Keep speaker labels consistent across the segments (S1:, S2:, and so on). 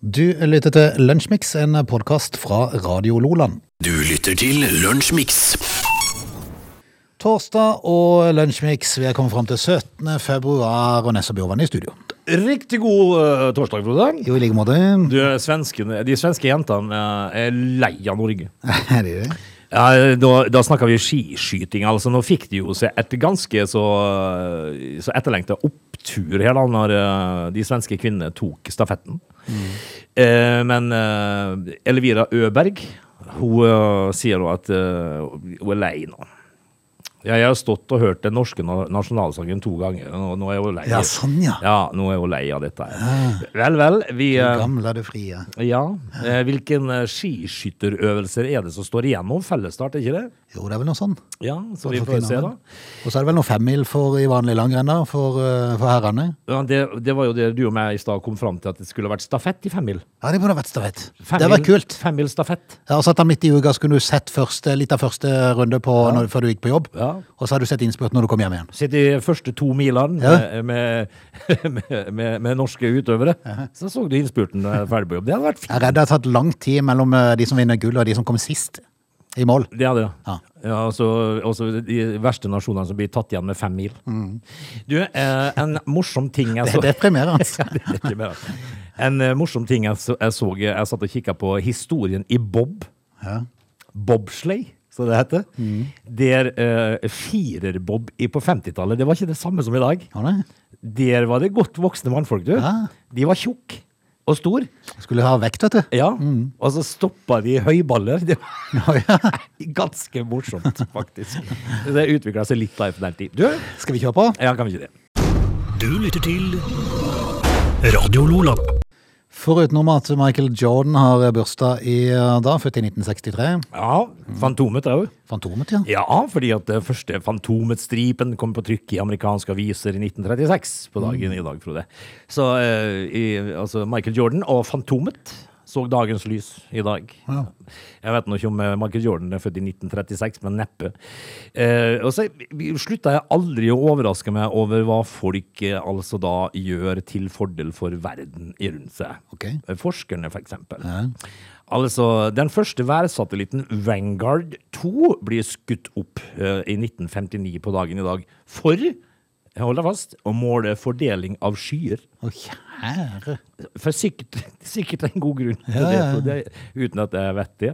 S1: Du lytter til Lunsjmix, en podkast fra Radio Loland.
S2: Du lytter til Lunsjmix.
S1: Torsdag og Lunsjmix, vi er kommet fram til 17. februar, og Nessa Bjørvann i studio.
S3: Riktig god eh, torsdag, Frode.
S1: Jo, i like måte.
S3: Du, svenskene, de svenske jentene eh, er lei av Norge.
S1: Er det det?
S3: Ja, da, da snakker vi skiskyting. altså. Nå fikk de jo seg et ganske så, eh, så etterlengta opptur her da når eh, de svenske kvinnene tok stafetten. Eh, men eh, Elvira Øberg hun eh, sier nå at eh, hun er lei nå. Ja, jeg har stått og hørt den norske na- nasjonalsangen to ganger, og nå er hun lei.
S1: Ja, sånn, ja.
S3: Ja, nå er hun lei av dette. her. Vel, vel. Vi,
S1: Ah. Du
S3: eh,
S1: gamle, du frie.
S3: ja. eh, Hvilken eh, skiskytterøvelser er det som står igjennom? Fellesstart, er ikke det?
S1: Jo, det er vel noe sånn.
S3: Ja, så vi
S1: For
S3: får se,
S1: kvinnene.
S3: da.
S1: Og så er det vel noe femmil for i vanlig langrenn, da, for, eh, for herrene.
S3: Ja, det, det var jo det du og meg i stad kom fram til, at det skulle vært stafett i femmil.
S1: Ja, det burde vært stafett. Det
S3: Femmil-
S1: var kult.
S3: Femmil stafett.
S1: Ja, og Satt han midt i uka, så kunne du sett første, litt av første runde på, når, før du gikk på jobb.
S3: Ja.
S1: Og så har du sett innspurt når du kom hjem igjen.
S3: Sitt de første to milene
S1: Ja.
S3: eh, med, med, med, med norske utøvere. Så så du innspurten eh, ferdig på jobb. Det hadde vært
S1: Jeg er
S3: fint.
S1: redd det har tatt lang tid mellom eh, de som vinner gull, og de som kom sist i mål.
S3: Det hadde det.
S1: Ja.
S3: Ja, altså, også de verste nasjonene som blir tatt igjen med fem mil. Du, eh, en morsom ting jeg
S1: Det
S3: så
S1: er deprimerende.
S3: Ja, altså. det er ikke mer. En eh, morsom ting jeg så, jeg, så jeg satt og kikka på historien i Bob. Bobsleigh, som det heter. Der eh, firer-Bob i- på 50-tallet, det var ikke det samme som i dag.
S1: Var det?
S3: Der var det godt voksne mannfolk, du.
S1: Ja.
S3: De var tjukke og store.
S1: Skulle ha vekt, vet du.
S3: Ja, og så stoppa de høyballer. Det var
S1: Å, ja.
S3: ganske morsomt, faktisk. Det utvikla seg litt da i den tid. Du,
S1: Skal vi kjøre på?
S3: ja, kan vi ikke det?
S2: Du lytter til Radio Lola.
S1: Foruten om at Michael Jordan har bursdag i eh, dag, født i 1963.
S3: Ja, Fantomet òg.
S1: Fantomet, ja.
S3: Ja, fordi at det første Fantomet-stripen kom på trykk i amerikanske aviser i 1936 på dagen
S1: Mm.
S3: i dag, Frode. Så eh, i, altså Michael Jordan og Fantomet så dagens lys i dag. Jeg vet nå ikke om eh, Michael Jordan er født i 1936, men neppe. Eh, og så slutta jeg aldri å overraske meg over hva folk eh, altså da gjør til fordel for verden i rundt seg.
S1: Ok.
S3: Eh, forskerne, for eksempel. Altså, den første værsatelliten Vanguard 2 blir skutt opp eh, i 1959 på dagen i dag for, hold deg fast, å måle fordeling av skyer.
S1: Å, kjære.
S3: For sikkert, sikkert en god grunn til
S1: Ja,
S3: det,
S1: ja, ja.
S3: for det, uten at jeg vet det.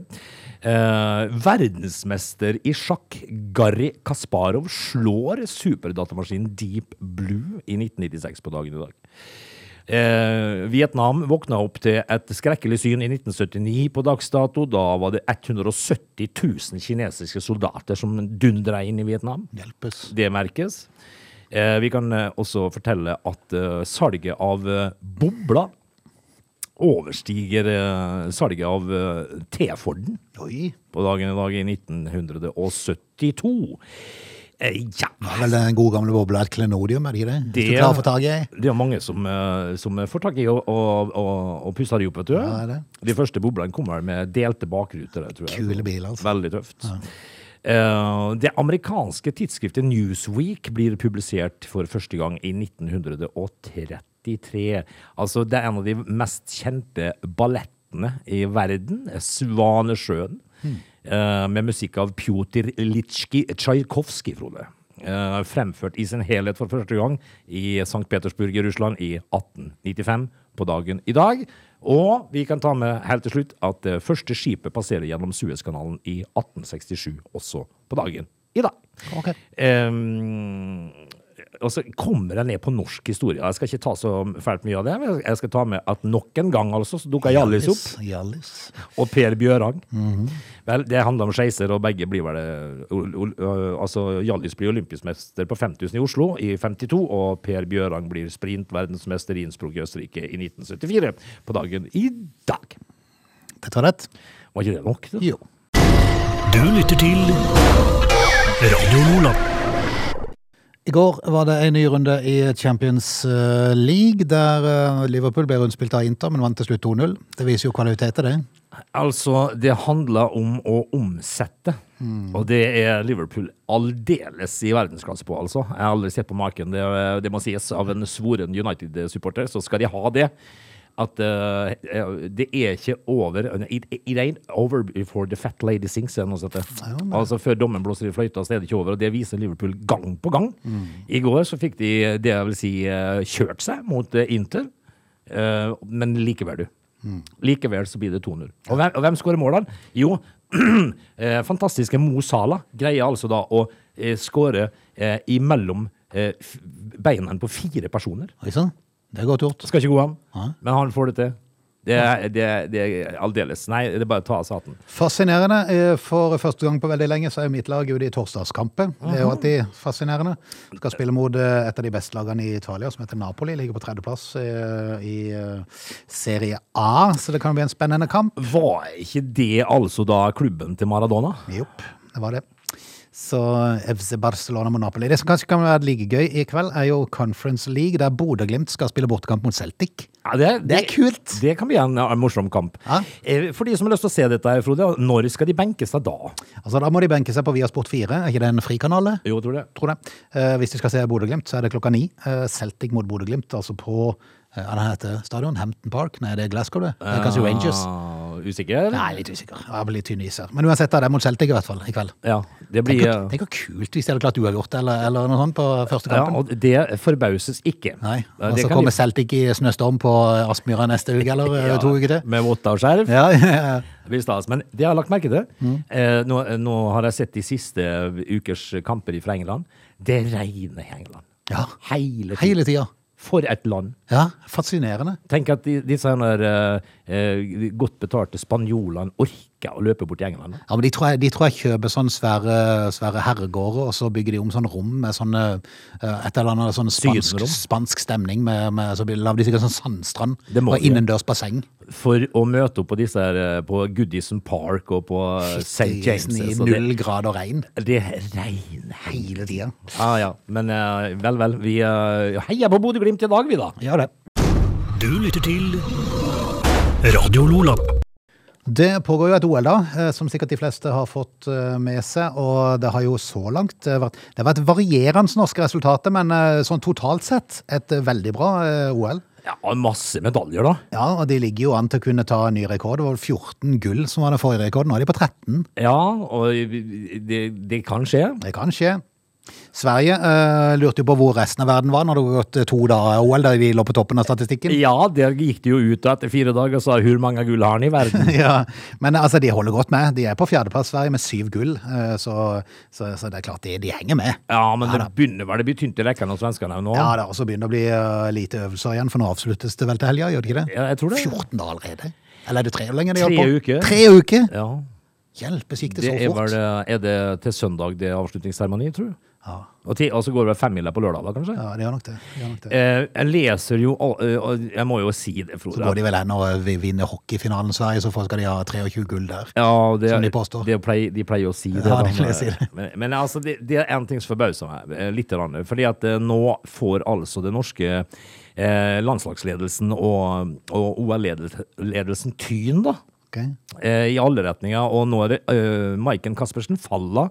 S3: Eh, verdensmester i sjakk Garri Kasparov slår superdatamaskinen Deep Blue i 1996 på dagen i dag. Eh, Vietnam våkna opp til et skrekkelig syn i 1979 på dags dato. Da var det 170 000 kinesiske soldater som dundra inn i Vietnam.
S1: Hjelpes.
S3: Det merkes. Eh, vi kan eh, også fortelle at eh, salget av eh, bobler overstiger eh, salget av eh, T-Forden
S1: Oi.
S3: på dagen i dag i 1972. Eh, ja.
S1: Det er vel den gode gamle bobla et klenodium, er det ikke det? Hvis du klarer å få tak i ei.
S3: det er mange som, eh, som får tak i og, og, og, og pusser de opp, vet du.
S1: Ja, det er
S3: De første boblene kommer med delte bakruter. Tror jeg.
S1: Kule biler, altså.
S3: Veldig tøft. Eh, det amerikanske tidsskriftet Newsweek blir publisert for første gang i 1933. Altså, det er en av de mest kjente ballettene i verden, Svanesjøen,
S1: Hmm.
S3: eh, med musikk av Pjotr Litskij Tsjajkovskij, Frode. Eh, fremført i sin helhet for første gang i St. Petersburg i Russland i 1895 på dagen i dag. Og vi kan ta med helt til slutt at det første skipet passerer gjennom Suezkanalen i 1867, også på dagen i dag.
S1: Ok.
S3: Ehm, og så kommer jeg ned på norsk historie. Jeg skal ikke ta så fælt mye av det. men Jeg skal ta med at nok en gang altså, så dukka Hjallis opp
S1: Hjallis.
S3: og Per Bjørang. Vel, det handler om skeiser, og begge blir vel det ol- ol- ø, Altså, Hjallis blir olympisk mester på 5000 i Oslo i 52, og Per Bjørang blir sprint verdensmester i Innsbruck i Østerrike i 1974 på dagen i dag.
S1: Dette var det.
S3: Var ikke det nok? Da?
S1: Jo.
S2: Du lytter til Radio Lola.
S1: I går var det en ny runde i Champions eh, League, der eh, Liverpool ble rundspilt av Inter, men vant til slutt 2-0. Det viser jo kvalitet til det.
S3: Altså, det handler om å omsette, og det er Liverpool aldeles i verdensklasse på, altså. Jeg har aldri sett på maken, det, det må sies, av en svoren United-supporter, så skal de ha det. at eh, eh, det er ikke over eh, it, it ain't over before the fat lady sings. eller noe sånt. altså Før dommen blåser i fløyta, så er det ikke over. Og det viser Liverpool gang på gang. I går så fikk de det jeg vil si eh, kjørt seg mot eh, Inter, Eh, men likevel, du. Likevel så blir det 2-0. Og hvem, og hvem skårer målene? Jo, eh, fantastiske Mo Salah greier altså da å eh, skåre eh, imellom eh, f- beina på fire personer.
S1: Ikke sant? Det er godt gjort.
S3: Skal ikke gå an.
S1: Nei.
S3: Men han får det til. Det er, det, er- det er aldeles Nei, det er bare å ta av saten.
S1: Fascinerende. Eh, For første gang på veldig lenge så er mitt lag ute i torsdagskampen. Det er jo alltid fascinerende. Skal spille mot eh, et av de beste lagene i Italia, som heter Napoli. Ligger på tredjeplass eh, i eh, Serie A, så det kan bli en spennende kamp.
S3: Var ikke det altså da klubben til Maradona?
S1: Jopp, det var det. Så FC Barcelona mot Napoli. Det som kanskje kan være like gøy i kveld, er jo Conference League, der Bodø-Glimt skal spille bortekamp mot Celtic.
S3: Ja, det, er-
S1: Det er kult.
S3: Det kan bli en, en morsom kamp.
S1: Ja.
S3: Eh, For de som har lyst til å se dette, her, Frode, når skal de benkes da? da?
S1: Altså, da må de benke seg på Viasport 4. Er ikke det en frikanal? det?
S3: Jo, tror det.
S1: tror det. Eh, hvis de skal se Bodø-Glimt, så er det klokka ni. Eh, Celtic mot Bodø-Glimt, altså på eh, hva det heter stadion? Hampton Park? Nei, det er Glasgow, det. Det er kanskje Rangers.
S3: Ah, usikker?
S1: Nei, litt usikker. Jeg blir tynn is her. Men uansett, da, det er mot Celtic i hvert fall i kveld.
S3: Ja, det
S1: Tenk
S3: blir eh,
S1: hvor- tenk hvor kult hvis de hadde klart uavgjort eller, eller noe sånt på første
S3: ja,
S1: kampen.
S3: og Det forbauses ikke.
S1: Nei,
S3: Eh,
S1: Og
S3: det
S1: så
S3: kan de-
S1: kommer Celtic i snøstorm på eh, Aspmyra neste uke, eller eh,
S3: Ja,
S1: to uker til.
S3: Med votter og skjerf.
S1: Ja, Mm. ja.
S3: Det blir stas. Men det jeg har lagt merke til, eh, nå, nå har jeg sett de siste ukers kamper fra England, det regner i England.
S1: Ja.
S3: Hele tiden.
S1: Hele tida.
S3: For et land.
S1: Ja, fascinerende.
S3: Tenk at de, disse her, eh, eh, godt betalte spanjolene orker å løpe bort til England.
S1: Ja, men de tror jeg, de tror jeg kjøper sånne svære, svære herregårder, og så bygger de om sånne rom med sånne, eh, et eller annet sånn spansk,
S3: Sydenrom.
S1: spansk stemning, med, med, så blir- lager de sikkert sånn sandstrand
S3: Det må
S1: og
S3: de.
S1: innendørs basseng.
S3: For å møte opp på disse her, eh, på Goodison Park og på eh, St. James.
S1: sånn
S3: altså.
S1: I
S3: Så det,
S1: null grad og regn
S3: det regner hele
S1: hele tida.
S3: ah, ja. Men eh, vel, vel. Vi eh, heier på Bodø-Glimt i dag, vi, da.
S1: Ja, det.
S2: Du lytter til Radio Lola.
S1: Det pågår jo et OL, da, eh, som sikkert de fleste har fått eh, med seg. Og det har jo så langt eh, vært Det har vært varierende norske resultater, men eh, sånn totalt sett et eh, veldig bra eh, OL.
S3: Ja, masse medaljer, da.
S1: Ja, og de ligger jo an til å kunne ta en ny rekord. Det var vel 14 gull som var den forrige rekorden. Nå er de på 13.
S3: Ja, og det, det kan skje.
S1: Det kan skje. Sverige eh, lurte jo på hvor resten av verden var når det hadde gått eh, to dager OL, der de lå på toppen av statistikken.
S3: Ja, der gikk det jo ut da etter fire dager, så hvor mange gull har han i verden?
S1: Ja, Men altså, de holder godt med. De er på fjerdeplass, Sverige, med syv gull. eh, så, så, så det er klart, de, de henger med.
S3: Ja, men det begynner vel, det blir tynt i rekkene av svenskene nå.
S1: Ja, det er også begynner å bli eh, lite øvelser igjen, for nå avsluttes det vel til helga, gjør det ikke det?
S3: Ja, jeg tror det.
S1: 14 dager allerede? Eller er det tre hvor lenge de
S3: Tre
S1: holder på?
S3: uker.
S1: Tre uker?
S3: Ja,
S1: Hjelpes gikk det
S3: det
S1: så
S3: er
S1: fort?
S3: vel eh, Er det til søndag det er avslutningsseremoni, tror du?
S1: Ja,
S3: Og, til, og så går det vel femmila på lørdag, da, kanskje?
S1: ja, det gjør nok det. det, gjør nok det.
S3: Eh, jeg leser jo all- eh, og Jeg må jo si det,
S1: Så
S3: Frode.
S1: går de vel hen og eh, vi- vinner hockeyfinalen Sverige, så får- skal de ha 23 gull der.
S3: Ja, det,
S1: Som de påstår.
S3: det pleier, de pleier å si det.
S1: Ja, de
S3: da,
S1: pleier å
S3: men-
S1: si det.
S3: Men, men altså, det, det er en ting som forbauser meg eh, litt. grann, Fordi at eh, nå får altså den norske eh, landslagsledelsen og, og OL-ledelsen tyn, da.
S1: Ok?
S3: Eh, I alle retninger. Og nå er det eh, Maiken Caspersen Falla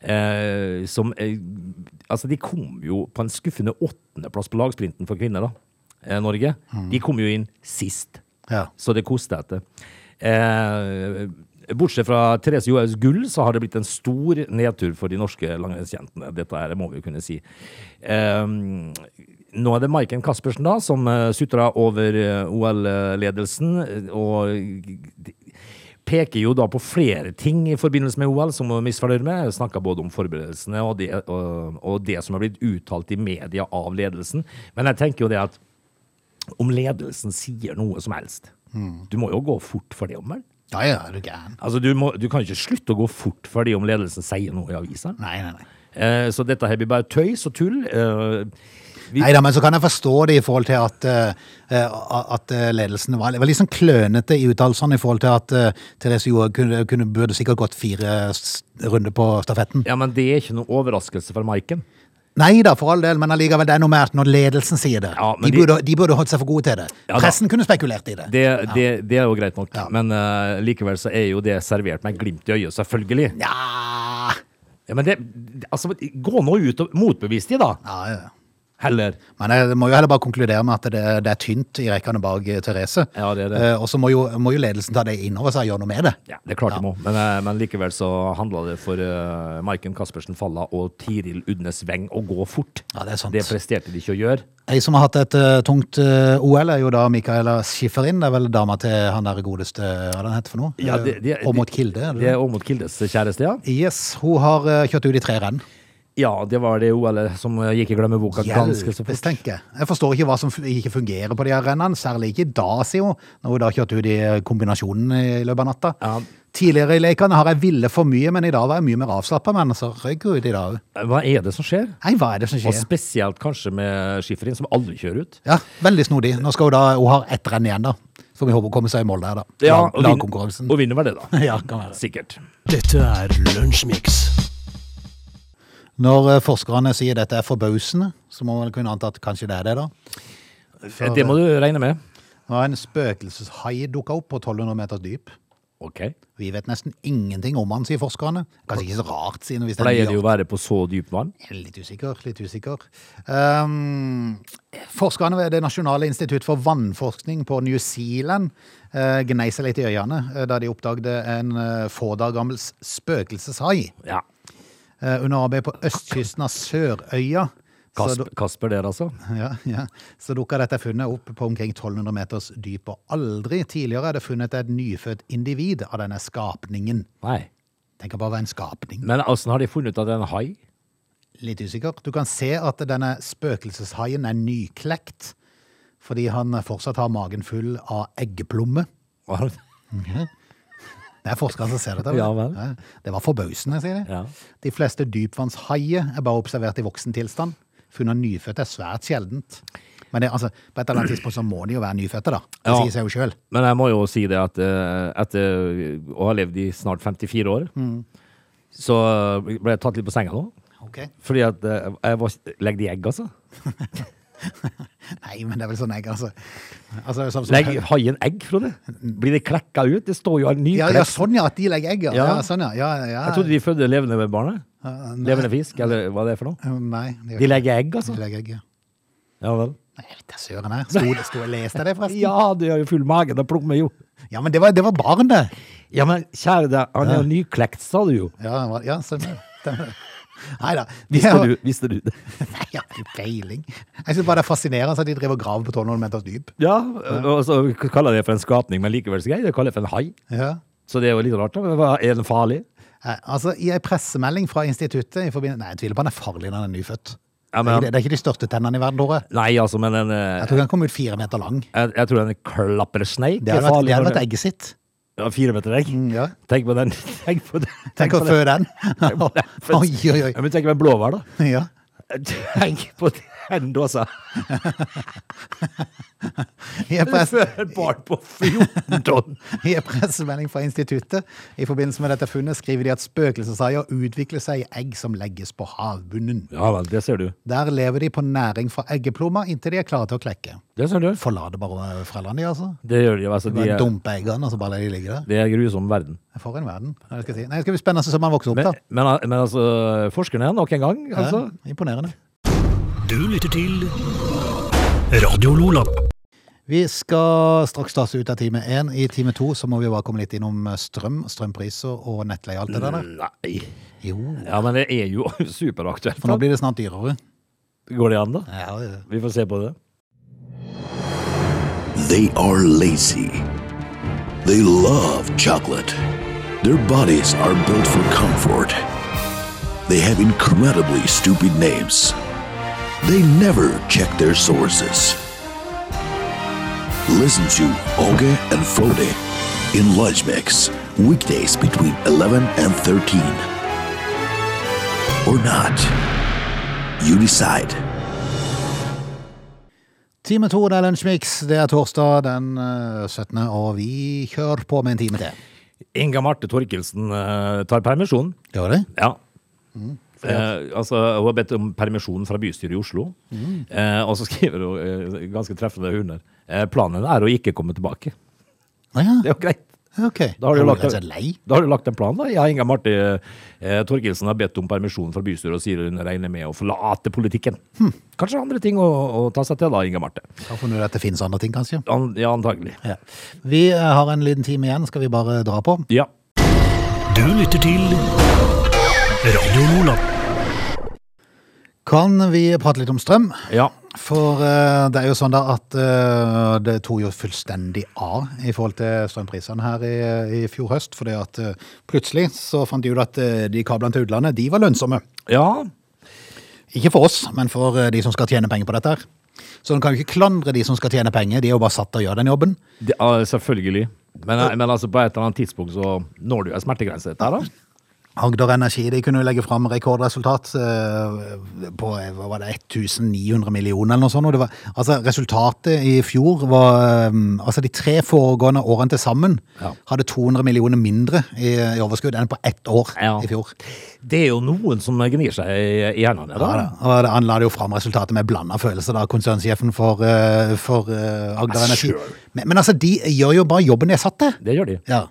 S3: eh, som eh, Altså, de kom jo på en skuffende åttendeplass på lagsprinten for kvinner, da. Eh, Norge. De kom jo inn sist.
S1: Ja.
S3: Så det koster etter. Eh, bortsett fra Therese Johaugs gull, så har det blitt en stor nedtur for de norske langrennsjentene. Dette her må vi jo kunne si. Eh, nå er det Maiken Caspersen da, som eh, sutrer over eh, OL-ledelsen. eh, og peker jo da på flere ting i forbindelse med OL som hun er misfornøyd med. Jeg snakket både om forberedelsene og det, og, og det som er blitt uttalt i media av ledelsen. Men jeg tenker jo det at om ledelsen sier noe som helst. Du må jo gå fort for det om vel?
S1: Ja, ja, er du gæren?
S3: Altså, du, må, du kan ikke slutte å gå fort for det om ledelsen sier noe i avisa.
S1: Nei, nei, nei.
S3: Eh, så dette her blir bare tøys og tull. Eh, vi,
S1: Neida, men så kan jeg forstå det i forhold til at, eh, eh, at eh, ledelsen var, var litt sånn klønete i uttalelsene i forhold til at eh, Therese Johaug kunne, kunne, burde sikkert gått fire s- runder på stafetten.
S3: ja, men det er ikke noe overraskelse for Maiken.
S1: Nei da, for all del, men allikevel, det er noe mer når ledelsen sier det.
S3: Ja,
S1: de,
S3: men de-
S1: burde, de burde holdt seg for gode til det.
S3: Ja da.
S1: Pressen kunne spekulert i det.
S3: Det, det, det er jo greit nok,
S1: Ja.
S3: men eh, likevel så er jo det servert med glimt i øyet, selvfølgelig.
S1: Ja,
S3: Ja, men det, altså, gå nå ut og motbevis de, da.
S1: ja, ja.
S3: Heller.
S1: Men jeg må jo heller bare konkludere med at det, det er tynt i rekkene bak eh, Therese.
S3: Ja, det er det.
S1: Eh, Og så må, jo- må jo ledelsen ta det inn over seg og gjøre noe med det.
S3: Ja, det klarte de òg, men, eh, men likevel så handla det for eh, Maiken Caspersen Falla og Tiril Udnes Weng å gå fort.
S1: Ja, det er sant.
S3: Det presterte de ikke å gjøre.
S1: Ei som har hatt et eh, tungt eh, OL, er jo da Michaela Schifferin. Det er vel dama til han der godeste Hva er det han heter for noe?
S3: Ja, det- det-
S1: Eh, Åmot Kilde? Er det?
S3: Det er Åmot Kildes kjæreste, ja.
S1: det? Yes. Hun har eh, kjørt ut i tre renn.
S3: Ja, det var det OL-et som eh, gikk i glemmeboka ganske så
S1: Hjelpes,
S3: fort.
S1: tenker jeg. Jeg forstår ikke hva som fun- ikke fungerer på de her rennene, særlig ikke da, sier hun, når hun da kjørte ut i kombinasjonen i løpet av natta.
S3: Ja.
S1: Tidligere i lekene har jeg ville for mye, men i dag var jeg mye mer avslappa, men så røyk hun ut i dag.
S3: Hva er det som skjer?
S1: Nei, hva er det som
S3: Og
S1: skjer?
S3: spesielt kanskje med Schifrin, som aldri kjører ut.
S1: Ja, veldig snodig. Nå skal hun da, hun har ett renn igjen da, så vi håper hun kommer seg i mål der da. Lag-
S3: og, vinner,
S1: Lagkonkurransen.
S3: og vinner vel det, da.
S1: Ja, kan være.
S3: Sikkert.
S2: Dette er Lunsjmix.
S1: Når eh, forskerne sier dette er forbausende, så må man kunne anta at kanskje det er det da.
S3: Det må du regne med.
S1: Nå har en spøkelseshai dukket opp på 1200 meters dyp.
S3: Ok.
S1: Vi vet nesten ingenting om han, sier forskerne. Kanskje ikke så rart, siden hvis det er
S3: Pleier det
S1: mye
S3: jo å være på så dypt vann?
S1: Jeg er Litt usikker, litt usikker. Ehm, forskerne ved Det nasjonale institutt for vannforskning på New Zealand uh, gnei seg litt i øynene eh, da de oppdagde en eh, få dager gammel s- spøkelseshai
S3: Ja.
S1: eh, under arbeid på østkysten av Sørøya. Så,
S3: Kasper, Kasper der, altså.
S1: du- ja, ja. så dukka dette funnet opp på omkring 1200 meters dyp, og aldri tidligere er det funnet et nyfødt individ av denne skapningen.
S3: Nei.
S1: Tenk bare å være en skapning.
S3: Men åssen har de funnet ut at det er en hai?
S1: Litt usikker. Du kan se at denne spøkelseshaien er nyklekt, fordi han fortsatt har magen full av eggeplomme.
S3: Hva-
S1: Det er forskere som ser dette.
S3: Ja vel.
S1: Det var forbausende, sier de.
S3: Ja.
S1: De fleste dypvannshaier er bare observert i voksen tilstand. Funnet nyfødte er svært sjeldent. Men det, altså, på et eller annet tidspunkt så må de jo være nyfødte, da. Det
S3: Ja.
S1: sier seg jo sjøl.
S3: Men jeg må jo si det at eh, etter å ha levd i snart 54 år,
S1: Mm.
S3: så ble jeg tatt litt på senga nå. Fordi at eh, jeg var Legg de egg, altså?
S1: Nei, men det er vel sånn egg, altså. altså sånn som-
S3: Legg haien egg, Frode? Blir det klekka ut? Det står jo en ny
S1: ja,
S3: klekk.
S1: ja, sånn ja, at de legger egg, ja.
S3: Ja.
S1: ja. sånn, ja. ja, ja.
S3: Jeg trodde de fødte levende barnet.
S1: Ja, nei.
S3: Levende fisk, eller hva det er for noe.
S1: Nei, de,
S3: De legger egg,
S1: de
S3: altså?
S1: legger egg, ja.
S3: Ja vel.
S1: Nei, jeg vet da søren jeg. Sto, sto jeg leste det forresten?
S3: Ja, du har jo full mage, da plommer jo.
S1: Ja, men det var, det var barn det.
S3: Ja, men kjære deg, han er jo nyklekt, sa du jo.
S1: Ja, det var- ja stemmer. stemmer. Neida. de
S3: Visste
S1: er-
S3: du, visste du det?
S1: Nei, jeg har ikke peiling. Jeg synes bare det er fascinerende at de driver og graver på 1200 meters dyp.
S3: Ja, og så kaller jeg det for en skapning, men likevel så greit. Jeg kaller det for en hai.
S1: Ja.
S3: Så det er jo litt rart, da. men hva- Er den farlig?
S1: Eh, Altså, I en pressemelding fra instituttet i forbind- Nei, jeg tviler på han er farlig når han er nyfødt.
S3: Ja,
S1: det, er
S3: men-
S1: ikke, det- det er ikke de største tennene i verden, tror jeg.
S3: Nei, altså, men en
S1: Jeg
S3: eh,
S1: tror han kom ut fire meter lang.
S3: Jeg, jeg tror en klappersneik
S1: Det hadde vært, det hadde vært egget sitt.
S3: Ja, fire meter egg.
S1: Mm, ja.
S3: Tenk på den. Tenk på den.
S1: Tenk å
S3: på den.
S1: fø den. Oi, oi, oi.
S3: Ja, men tenk på en blåhval, da.
S1: Ja.
S3: Tenk på den dåsa.
S1: I en press-
S3: Et barn på 14 tonn.
S1: I en pressemelding fra instituttet i forbindelse med dette funnet skriver de at spøkelseshaier utvikler seg i egg som legges på havbunnen.
S3: Ja vel, det ser du.
S1: Der lever de på næring fra eggeplomma inntil de er klare til å klekke.
S3: Det ser du.
S1: Forlater bare eh, foreldrene de, altså.
S3: Det gjør de jo. Altså, de
S1: Bare
S3: er,
S1: dumper eggene og så bare lar de ligge der.
S3: det er grusom verden.
S1: For en verden. hva skal jeg si. Nei, det skal bli spennende å se om han vokser opp,
S3: Men,
S1: da.
S3: men, al- men altså, forskerne nok en gang, altså.
S1: Ja, imponerende.
S2: Du lytter til Radio Lola.
S1: Vi skal straks ta oss ut av time én. I time to så må vi bare komme litt innom eh, strøm, strømpriser og nettleie og alt det der. da.
S3: Nei.
S1: Jo,
S3: Ja, men det er jo superaktuelt.
S1: for nå blir det snart dyrere.
S3: Går det an, da?
S1: Ja, ja.
S3: Vi får se på det.
S4: They are lazy. They love chocolate. Their bodies are built for comfort. They have incredibly stupid names. They never check their sources. Listen to Oge and Frode in Lunch Mix, weekdays between 11 and 13. Or not. You decide.
S1: Time to, det er Lunsjmix. Det er torsdag den eh, 17., og vi kjører på med en time til.
S3: Inga Marte Torkelsen eh, tar permisjon.
S1: Gjør det?
S3: Ja. Eh, altså, hun har bedt om permisjon fra bystyret i Oslo. Eh, og så skriver hun eh, ganske treffende under. Eh, planen er å ikke komme tilbake.
S1: Å ja.
S3: Det er jo greit.
S1: Ok.
S3: Da har, du
S1: Jeg
S3: lagt,
S1: ble rett og slett lei.
S3: da har du lagt en plan, da. Jeg, Inga Marte eh, Torkelsen har bedt om permisjon fra bystyret og sier hun regner med å forlate politikken. Kanskje andre ting å, å ta seg til da, Inga Marte.
S1: Har funnet ut at det finnes andre ting, kanskje.
S3: An, ja, antagelig.
S1: Ja. Vi eh, har en liten time igjen, skal vi bare dra på?
S3: Ja.
S2: Du lytter til Radio Lola.
S1: Kan vi prate litt om strøm?
S3: ja.
S1: For eh, det er jo sånn da at eh, det tok jo fullstendig av i forhold til strømprisene her i, i fjor høst. For at eh, plutselig så fant de ut at eh, de kablene til utlandet, de var lønnsomme.
S3: ja.
S1: Ikke for oss, men for eh, de som skal tjene penger på dette her. Så en kan jo ikke klandre de som skal tjene penger, de er jo bare satt til å gjøre den jobben.
S3: Det, ja, selvfølgelig. Men, men altså, på et eller annet tidspunkt så når du ei smertegrense. Der, da.
S1: Agder Energi de kunne jo legge fram rekordresultat eh, på eh, hva var det, 1900 millioner eller noe sånt. Og det var, altså, resultatet i fjor var eh, Altså, de tre foregående årene til sammen
S3: Ja.
S1: hadde 200 millioner mindre i, i overskudd enn på ett år
S3: Ja.
S1: i fjor.
S3: Det er jo noen som gnir seg i, i hendene.
S1: Ja,
S3: Da.
S1: da. Og han la det jo fram resultatet med blanda følelser, da, konsernsjefen for, eh, for eh, Agder
S3: Ja,
S1: Energi.
S3: sure.
S1: Men, men altså, de gjør jo bare jobben de er satt til.
S3: Det gjør de.
S1: Ja.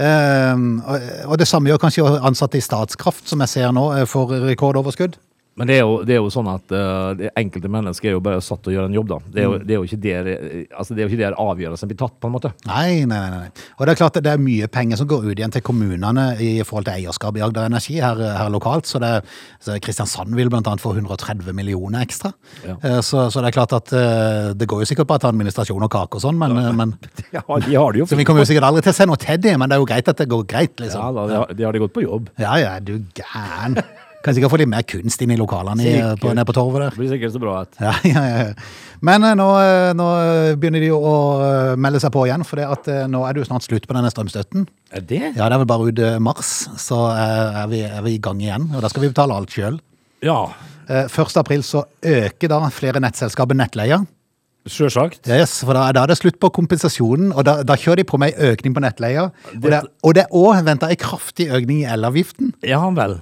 S1: Ehm, og, og det samme gjør kanskje ansatte i Statskraft, som jeg ser nå, eh, for rekordoverskudd.
S3: Men det er jo, det er jo sånn at eh, det enkelte mennesker er jo bare satt til å gjøre en jobb, da. Det er jo, det er jo ikke der, eh, altså, det er jo ikke der avgjørelsen blir tatt, på en måte.
S1: Nei, nei, nei. nei. Og det er klart at det er mye penger som går ut igjen til kommunene i forhold til eierskap i Agder Energi her, her lokalt. Så, det, er- så Kristiansand vil blant annet få 130 millioner ekstra.
S3: Ja.
S1: Eh, Så, så det er klart at eh, det går jo sikkert på at administrasjon og kake og sånn, men, eh, men
S3: Ja, de har det jo
S1: Så vi
S3: fint.
S1: kommer jo sikkert aldri til å se noe til det, men det er jo greit at det går greit,
S3: Ja,
S1: liksom.
S3: da, de, har, de har det godt på jobb.
S1: Ja, ja, du gæren. Kan sikkert få litt mer kunst inn i lokalene i,
S3: Sikkert.
S1: på, nede på torvet der.
S3: Det blir sikkert så bra at
S1: Ja, ja, ja. Men eh, nå, eh, nå eh, begynner de jo å eh, melde seg på igjen, for det at, eh, nå er det jo snart slutt på denne strømstøtten.
S3: Er det?
S1: Ja, det er vel bare ut eh, mars, så eh, er vi, er vi i gang igjen, og da skal vi betale alt sjøl.
S3: Ja,
S1: 1. april så øker da flere nettselskaper nettleia.
S3: sjølsagt.
S1: Yes, for da, er- da er det slutt på kompensasjonen, og da, da kjører de på med ei økning på nettleia. Og det,
S3: Dette-
S1: og det er òg venta ei kraftig økning i elavgiften.
S3: Ja vel.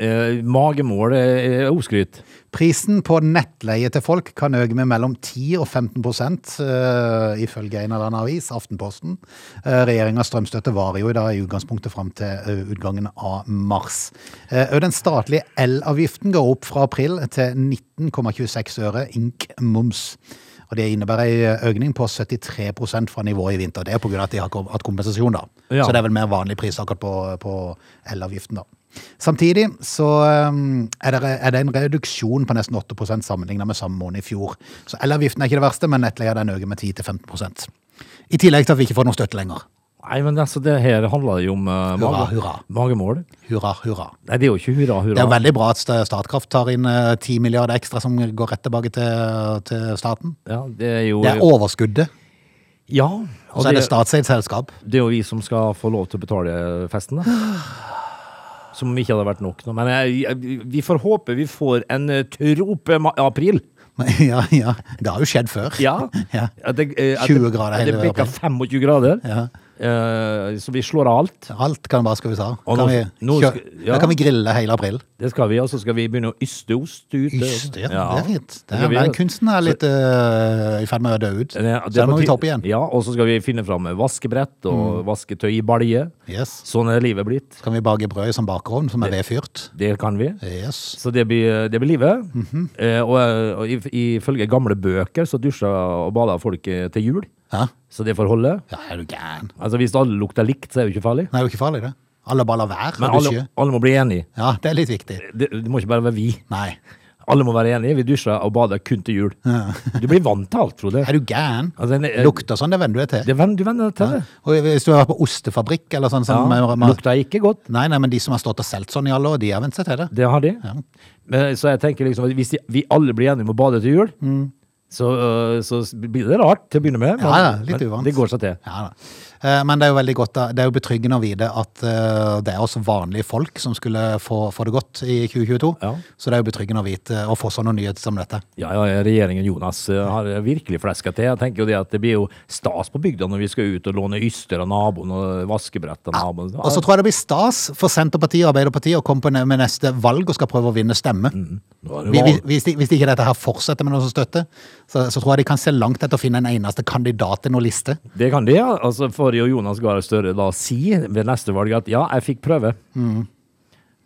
S3: eh, magemål er er oskryt.
S1: Prisen på nettleie til folk kan øke med mellom 10 og 15 prosent, eh, ifølge en eller annen avis, Aftenposten. Uh, Regjeringas strømstøtte varer jo da i utgangspunktet fram til eh, utgangen av mars. Eh, og den statlige elavgiften går opp fra april til 19,26 øre ink moms. Og Det innebærer en økning på 73 prosent fra nivået i vinter. Det er pga. at de har kom- hatt kompensasjon, da.
S3: Ja.
S1: Så det er vel mer vanlig pris akkurat på, på elavgiften, da. Samtidig så um, er det, er det en reduksjon på nesten 8 sammenlignet med samme måned i fjor. Så elavgiften er ikke det verste, men nettleia den øker med 10-15 I tillegg til at vi ikke får noe støtte lenger.
S3: Nei, men altså, det her handler jo om eh,
S1: Hurra,
S3: mage,
S1: hurra.
S3: magemål.
S1: Hurra, hurra.
S3: Nei, det er jo ikke hurra, hurra.
S1: Det er veldig bra at Sta- Statkraft tar inn eh, 10 milliarder ekstra som går rett tilbake til, til staten.
S3: ja, det er jo
S1: Det er overskuddet,
S3: Ja.
S1: og
S3: Og
S1: så er det
S3: det,
S1: statseid selskap.
S3: det er jo vi som skal få lov til å betale festen, da. Som om ikke hadde vært nok nå. Men jeg, jeg, vi får håpe vi får en eh, trope ma- april.
S1: Men, ja, ja. Det har jo skjedd før.
S3: Ja.
S1: Ja.
S3: At det, eh, at
S1: 20 grader
S3: at Det
S1: hele
S3: bikker
S1: april.
S3: 25 grader.
S1: Ja.
S3: Eh, så vi slår av alt.
S1: Alt kan bare skal vi sa.
S3: Og
S1: Kan
S3: nå-
S1: vi,
S3: nå
S1: kjø-
S3: skal- ja.
S1: Da kan vi grille hele april.
S3: Det skal vi, og så skal vi begynne å yste ost ut.
S1: Yste, ja.
S3: Ja.
S1: Det er fint. Det
S3: skal
S1: er,
S3: vi
S1: den
S3: gjøre.
S1: kunsten er litt øh, i ferd med å dø ut.
S3: Det-
S1: så
S3: det er
S1: den
S3: på
S1: må vi
S3: ti-
S1: ta opp igjen. Mm.
S3: Ja, og så skal vi finne fram vaskebrett og vasketøy i balje.
S1: Yes.
S3: Sånn er livet blitt.
S1: Så kan vi bake brød i sånn bakerovn som er vedfyrt.
S3: Det kan vi.
S1: Yes.
S3: Så det blir, det blir livet.
S1: Mhm.
S3: eh, og, eh, og if- ifølge gamle bøker så dusja og bada folk eh, til jul.
S1: Ja.
S3: Så det får holde.
S1: ja, er du gæren?
S3: Altså, hvis alle lukter likt, så er det jo ikke farlig.
S1: Nei, det er jo ikke farlig, det. Alle bare lar være
S3: Men
S1: å dusje.
S3: alle, alle må bli enige.
S1: Ja, det er litt viktig.
S3: Det, det må ikke bare være vi.
S1: Nei.
S3: Alle må være enige. Vi dusjer og bader kun til jul. Du blir vant til alt, Frode.
S1: Er du gæren?
S3: Altså, en-
S1: Lukter sånn, det venner du deg til.
S3: Det venn, du venner deg til det.
S1: Og hvis du har vært på ostefabrikk eller sånn
S3: Ja,
S1: som
S3: lukta ikke godt.
S1: Nei, nei, men de som har stått og solgt sånn i alle år, de har vent seg til det.
S3: Det har de. Men, så jeg tenker liksom at hvis de- vi alle blir enige om å bade til jul, så, øh, så blir det rart til å begynne med.
S1: Mm. Ja, ja, litt uvant.
S3: det går seg til.
S1: Ja, da. Eh, Men det er jo veldig godt, da- det er jo betryggende å vite at eh, det er også vanlige folk som skulle få, få det godt i 2022.
S3: Ja.
S1: Så det er jo betryggende å vite eh, å få sånne nyheter som dette.
S3: Ja, ja, regjeringen Jonas øh, har virkelig fleska til. Jeg tenker jo det at det blir jo stas på bygda når vi skal ut og låne yster av naboen og vaskebrett av naboen.
S1: Ah, Og så tror jeg det blir stas for Senterpartiet og Arbeiderpartiet å komme på ne- med neste valg og skal prøve å vinne stemme.
S3: Nå er Mm,
S1: Vi-
S3: det
S1: vi-
S3: valg.
S1: Hvis, de- hvis de ikke dette her fortsetter med noe som støtte, så, så tror jeg de kan se langt etter å finne en eneste kandidat til noen liste.
S3: Det kan de, ja. Altså, for Norge og Jonas Gahr Støre da si ved neste valg at ja, jeg fikk prøve.
S1: Mm.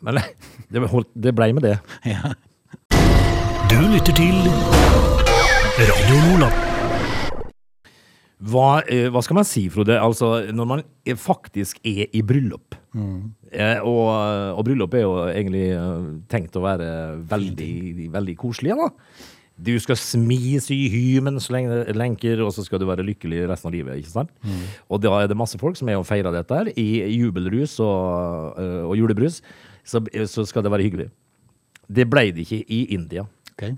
S3: Men det, holdt, det ble med det.
S1: Ja.
S2: Du lytter til Radio Nordland.
S3: Hva, eh, hva skal man si, Frode? Altså, når man er- faktisk er i bryllup. Eh, og, og bryllup er jo egentlig eh, tenkt å være veldig, veldig koselig. Da. Du skal smis i hymen så lenge det lenker, og så skal du være lykkelig resten av livet. ikke sant? Og da er det masse folk som er og feirer dette her, i jubelrus og, eh, og julebrus. Så, så skal det være hyggelig. Det ble det ikke i India.
S1: Ok.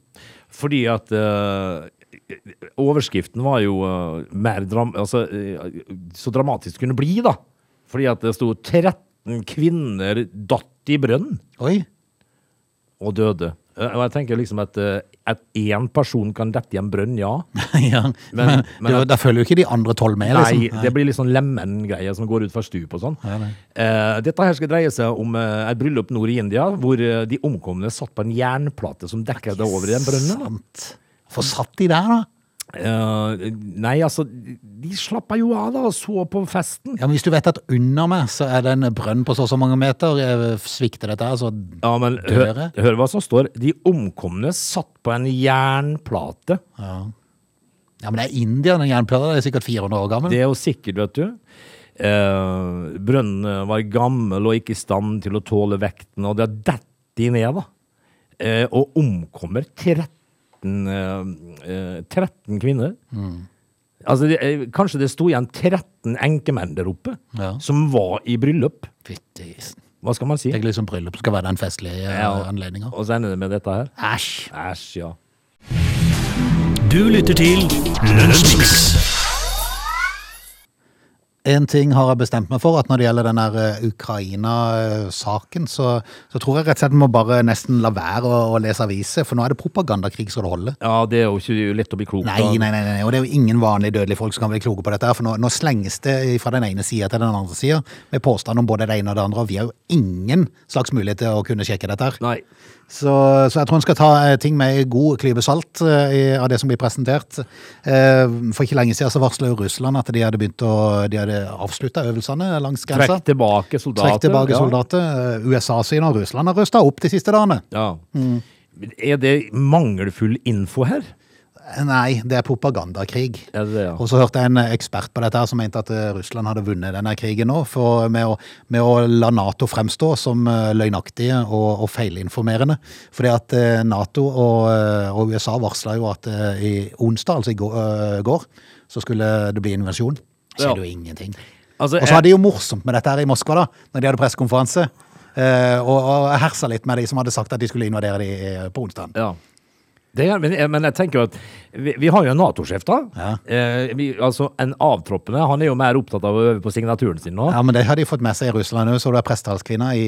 S3: Fordi at eh, overskriften var jo eh, mer dram altså, eh, så dramatisk kunne bli, da. Fordi at det sto 13 kvinner datt i brønn
S1: Oi.
S3: og døde. Eh, og jeg tenker liksom at eh, at én person kan dette i en brønn, ja.
S1: ja. Men,
S3: Men- men-
S1: det, var- da følger jo ikke de andre tolv med,
S3: Nei,
S1: liksom.
S3: det blir litt sånn lemen-greie som går ut fra stup og sånn.
S1: Ja, nei.
S3: Eh, dette her skal dreie seg om eh, et bryllup nord i India, hvor eh, de omkomne satt på en jernplate som dekket det over i den brønnen. da.
S1: Sant. Få satt de der, da.
S3: Eh, nei, altså, de slappa jo av da og så på festen.
S1: Ja, men Hvis du vet at under meg så er det en brønn på så og så mange meter, jeg svikter dette her, så
S3: Ja, men hør,
S1: Dere?
S3: hør hva som står. De omkomne satt på en jernplate.
S1: Ja, men det er India, den jernplata. Det er sikkert 400 år gammel.
S3: Det er jo sikkert, vet du. Eh, brønnen var gammel og ikke i stand til å tåle vekten, og det detter de ned, da. Eh, og omkommer 13, eh, eh, 13 kvinner.
S1: Mm.
S3: Altså, det, eh, kanskje det sto igjen 13 enkemenn der oppe
S1: Ja.
S3: som var i bryllup.
S1: Fytti isen.
S3: Hva skal man si?
S1: Tenk liksom bryllup skal være den festlige eh, anledninga.
S3: Og så ender det med dette her.
S1: Æsj!
S3: Æsj, ja.
S2: Du lytter til Lønnsmix.
S1: En ting har jeg bestemt meg for, at når det gjelder den der eh, Ukraina-saken, så, så tror jeg rett og slett må bare nesten la være å, å lese aviser, for nå er det propagandakrig skal det holde.
S3: Ja, det er jo ikke lett å bli klok
S1: Nei,
S3: av.
S1: nei, nei, nei, og det er jo ingen vanlige dødelige folk som kan bli kloke på dette, her, for nå, nå slenges det fra den ene sida til den andre sida med påstand om både det ene og det andre, og vi har jo ingen slags mulighet til å kunne sjekke dette. her.
S3: Nei.
S1: Så, så jeg tror en skal ta eh, ting med god klype salt eh, i- av det som blir presentert. Eh, For ikke lenge siden så varsla jo Russland at de hadde begynt å De hadde avslutta øvelsene langs grensa.
S3: Trekk tilbake soldater.
S1: Trekk tilbake
S3: ja.
S1: soldater. Eh, USA sine og Russland har rusta opp de siste dagene.
S3: Ja.
S1: Mm.
S3: Er det mangelfull info her?
S1: Eh, Nei, det er propagandakrig.
S3: Er det det, ja?
S1: Og så hørte jeg en ekspert på dette her som mente at eh, Russland hadde vunnet denne krigen nå for, eh, med, å, med å la Nato fremstå som eh, løgnaktige og, og feilinformerende. Fordi at eh, Nato og, eh, og USA varsla jo at eh, i onsdag, altså i går, eh, går, så skulle det bli invasjon. Så
S3: Ja.
S1: er det jo ingenting.
S3: Altså,
S1: og så hadde de jo morsomt med dette her i Moskva, da, når de hadde pressekonferanse. Eh, og, og jeg hersa litt med de som hadde sagt at de skulle invadere de eh, på onsdag.
S3: Ja. Det er, men, jeg- men jeg tenker jo at vi, vi har jo en Nato-sjef, da.
S1: Ja.
S3: Eh, vi, altså, en avtroppende. Han er jo mer opptatt av å øve på signaturen sin nå.
S1: Ja, men det har de fått med seg i Russland òg, så du er prestehalskvinna i,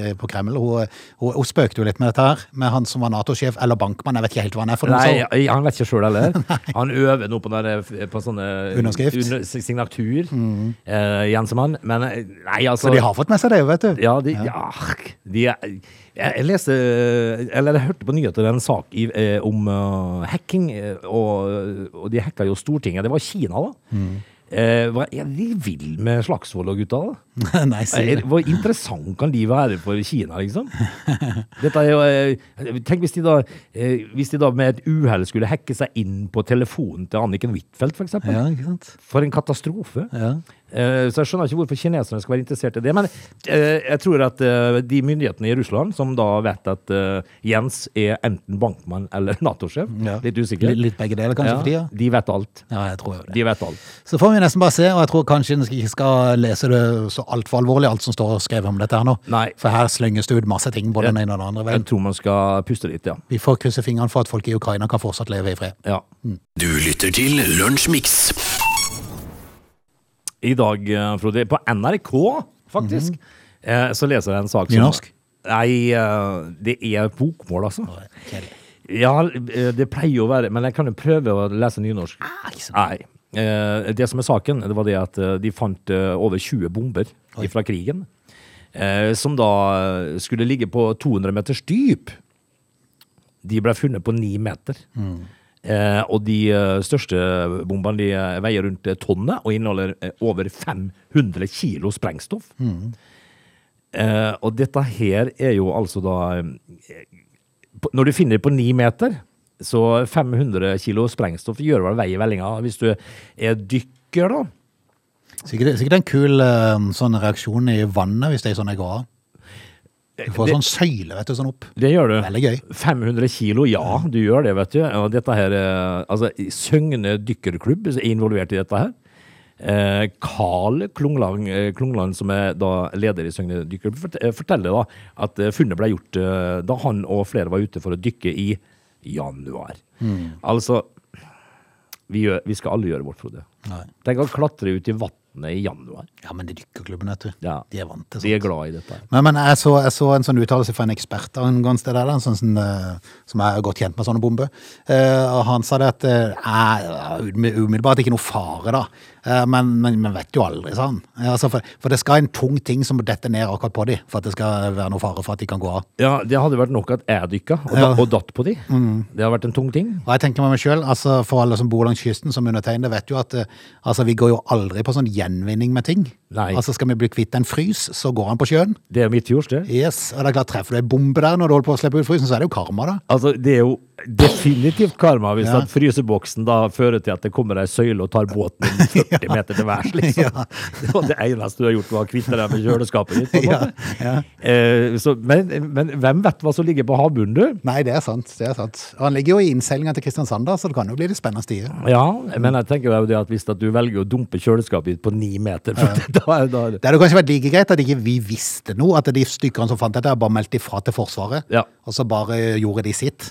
S1: i, på Kreml. Hun, hun, hun spøkte jo litt med dette her, med han som var Nato-sjef, eller bankmann, jeg vet ikke helt hva han er for noe
S3: Nei,
S1: sånt.
S3: han vet ikke sjøl heller. Han øver nå på, den der- eh, på sånne
S1: Underskrift. Mm.
S3: under- signatur, eh, Jensemann. Men eh, nei, altså
S1: Så de har fått med seg det, jo, vet du.
S3: Ja, de, ja. de er, jeg, jeg leste Eller jeg hørte på nyheter en sak i, eh, om eh, hacking, eh, og, og de hacka jo Stortinget. Det var Kina, da.
S1: Mm.
S3: Eh, hva er de vil med Slagsvold og gutta, da?
S1: Nei, si
S3: Eh,
S1: det.
S3: Hvor interessant kan de være for Kina, liksom? Dette er jo, eh, tenk hvis de, da, eh, hvis de da med et uhell skulle hacke seg inn på telefonen til Anniken Huitfeldt, for eksempel.
S1: Ja, ikke sant.
S3: For en katastrofe.
S1: Ja.
S3: Eh, Så jeg skjønner ikke hvorfor kineserne skal være interessert i det. Men eh, jeg tror at eh, de myndighetene i Russland som da vet at eh, Jens er enten bankmann eller Nato-sjef,
S1: Ja.
S3: litt usikker,
S1: Litt, litt begge deler, kanskje, for
S3: ja,
S1: tida.
S3: de vet alt.
S1: Ja, jeg tror jo det.
S3: De vet alt.
S1: Så får vi nesten bare se, og jeg tror kanskje en ikke skal lese det så altfor alvorlig, alt som står skrevet om dette her nå.
S3: Nei.
S1: For her slenges det ut masse ting, både den
S3: Ja.
S1: ene og den andre
S3: Jeg
S1: veien.
S3: tror man skal puste litt, ja.
S1: Vi får krysse fingrene for at folk i Ukraina kan fortsatt leve i fred.
S3: ja.
S2: Du lytter til Lunsjmix.
S3: I dag, eh, Frode, på NRK,
S1: Mhm.
S3: faktisk, eh, så leser jeg en sak
S1: Nynorsk?
S3: Nei, eh, det er bokmål, altså. Ja, eh, det pleier jo å være Men jeg kan jo prøve å lese nynorsk.
S1: ikke sant.
S3: Nei. Eh, Det som er saken, det var det at eh, de fant eh, over 20 bomber fra krigen. eh, Som da eh, skulle ligge på 200 meters dyp. De ble funnet på 9 meter. Eh, og de eh, største bombene de eh, veier rundt eh, tonnet og inneholder eh, over 500 kilo sprengstoff. Eh, og dette her er jo altså da eh, på- Når du finner det på ni meter, så 500 kilo sprengstoff gjør vel vei i vellinga. Hvis du er dykker, da.
S1: Sikkert, sikkert en kul eh, sånn reaksjon i vannet hvis det er sånn jeg går av. Du får
S3: det-
S1: sånn søyle, vet du, sånn opp.
S3: Det gjør du.
S1: Veldig gøy.
S3: 500 kilo, ja, du gjør det, vet du. Og dette her, eh, altså, Søgne dykkerklubb er involvert i dette her. Eh, Carl Klungland, eh, Klungland, som er da leder i Søgne dykkerklubb, fort- eh, forteller da at eh, funnet ble gjort eh, da han og flere var ute for å dykke i januar. Altså, vi, gjør, vi skal alle gjøre vårt, Frode.
S1: Nei.
S3: Tenk å klatre ut i vannet i januar.
S1: Ja, men det er dykkerklubben, vet du.
S3: Ja.
S1: De er vant til sånt.
S3: De er glad i dette. her.
S1: Men, men jeg, så, jeg så en sånn uttalelse fra en ekspert angående det der, en sånn, som, eh, som er godt kjent med sånne bomber. Eh, og han sa det at eh, eh, ume- umiddelbart ikke noe fare, da. Eh, men men man vet jo aldri, sa han. Eh, altså, for, for det skal en tung ting som detter ned akkurat på dem, for at det skal være noe fare for at de kan gå av.
S3: Ja, Det hadde vært nok at jeg dykka og, da,
S1: Ja. Mm.
S3: og datt på de. Det hadde vært en tung ting.
S1: Og jeg tenker med meg sjøl, altså, for alle som bor langs kysten, som undertegnede, vet jo at eh, altså, vi går jo aldri på sånn gjenvinning med ting.
S3: Nei.
S1: Altså, skal vi bli kvitt en frys, så går han på sjøen.
S3: Det er midtfjords, det.
S1: Yes, og det er klart, Treffer du ei bombe der når du holder på å slippe ut frysen, så er det jo karma, da.
S3: Altså, det er jo definitivt karma hvis
S1: Ja.
S3: at fryseboksen da fører til at det kommer ei søyle og tar båten din 40 meter til værs, liksom. Det var det eneste du har gjort, var å kvitte deg med kjøleskapet ditt. på en måte. Eh, så, men, men hvem vet hva som ligger på havbunnen, du?
S1: Nei, det er sant. det er sant. Og han ligger jo i innseilinga til Kristiansand, da, så det kan jo bli litt spennende stier.
S3: Ja, men jeg tenker jo det at hvis at du velger å dumpe kjøleskapet ditt på ni meter, for da, da,
S1: Det hadde kanskje vært like greit at ikke vi visste noe, at de stykkene som fant dette, bare meldte ifra til Forsvaret,
S3: Ja.
S1: og så bare gjorde de sitt.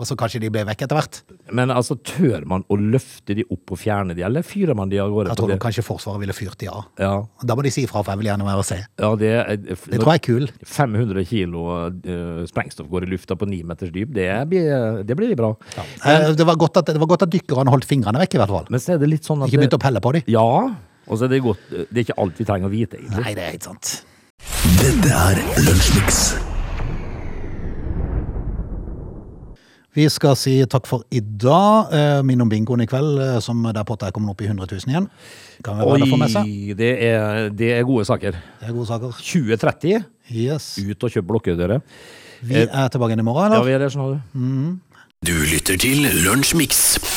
S1: Og så kanskje de ble vekk etter hvert.
S3: Men altså, tør man å løfte de opp og fjerne de, eller fyrer man de av gårde?
S1: Jeg
S3: på
S1: tror
S3: det?
S1: nok kanskje Forsvaret ville fyrt de av.
S3: Ja,
S1: Da må de si ifra, for jeg vil gjerne være og se.
S3: ja det, er-
S1: Det tror jeg er kul.
S3: 500 kilo eh, sprengstoff går i lufta på ni meters dyp, det blir, det blir bra.
S1: Eh, Det var godt at, det var godt at dykkerne holdt fingrene vekk, i hvert fall.
S3: Men så er det litt sånn at
S1: Ikke
S3: det-
S1: begynte å pelle på dem.
S3: Ja, og så er det godt Det er ikke alt vi trenger å vite, egentlig.
S1: Nei, det er ikke sant.
S4: Dette er Lunsjmix.
S1: Vi skal si takk for i dag. Eh, Minn om bingoen i kveld, eh, som der potta er kommet opp i 100 000 igjen. Kan vi bare få med seg.
S3: Oi, det er, det er gode saker.
S1: Det er gode saker.
S3: 2030,
S1: Yes.
S3: ut og kjøp blokker, dere.
S1: Vi er tilbake igjen i morgen,
S3: Mm. Ja,
S1: eller?
S3: vi er der, skjønner du.
S2: Du lytter til Lunsjmix.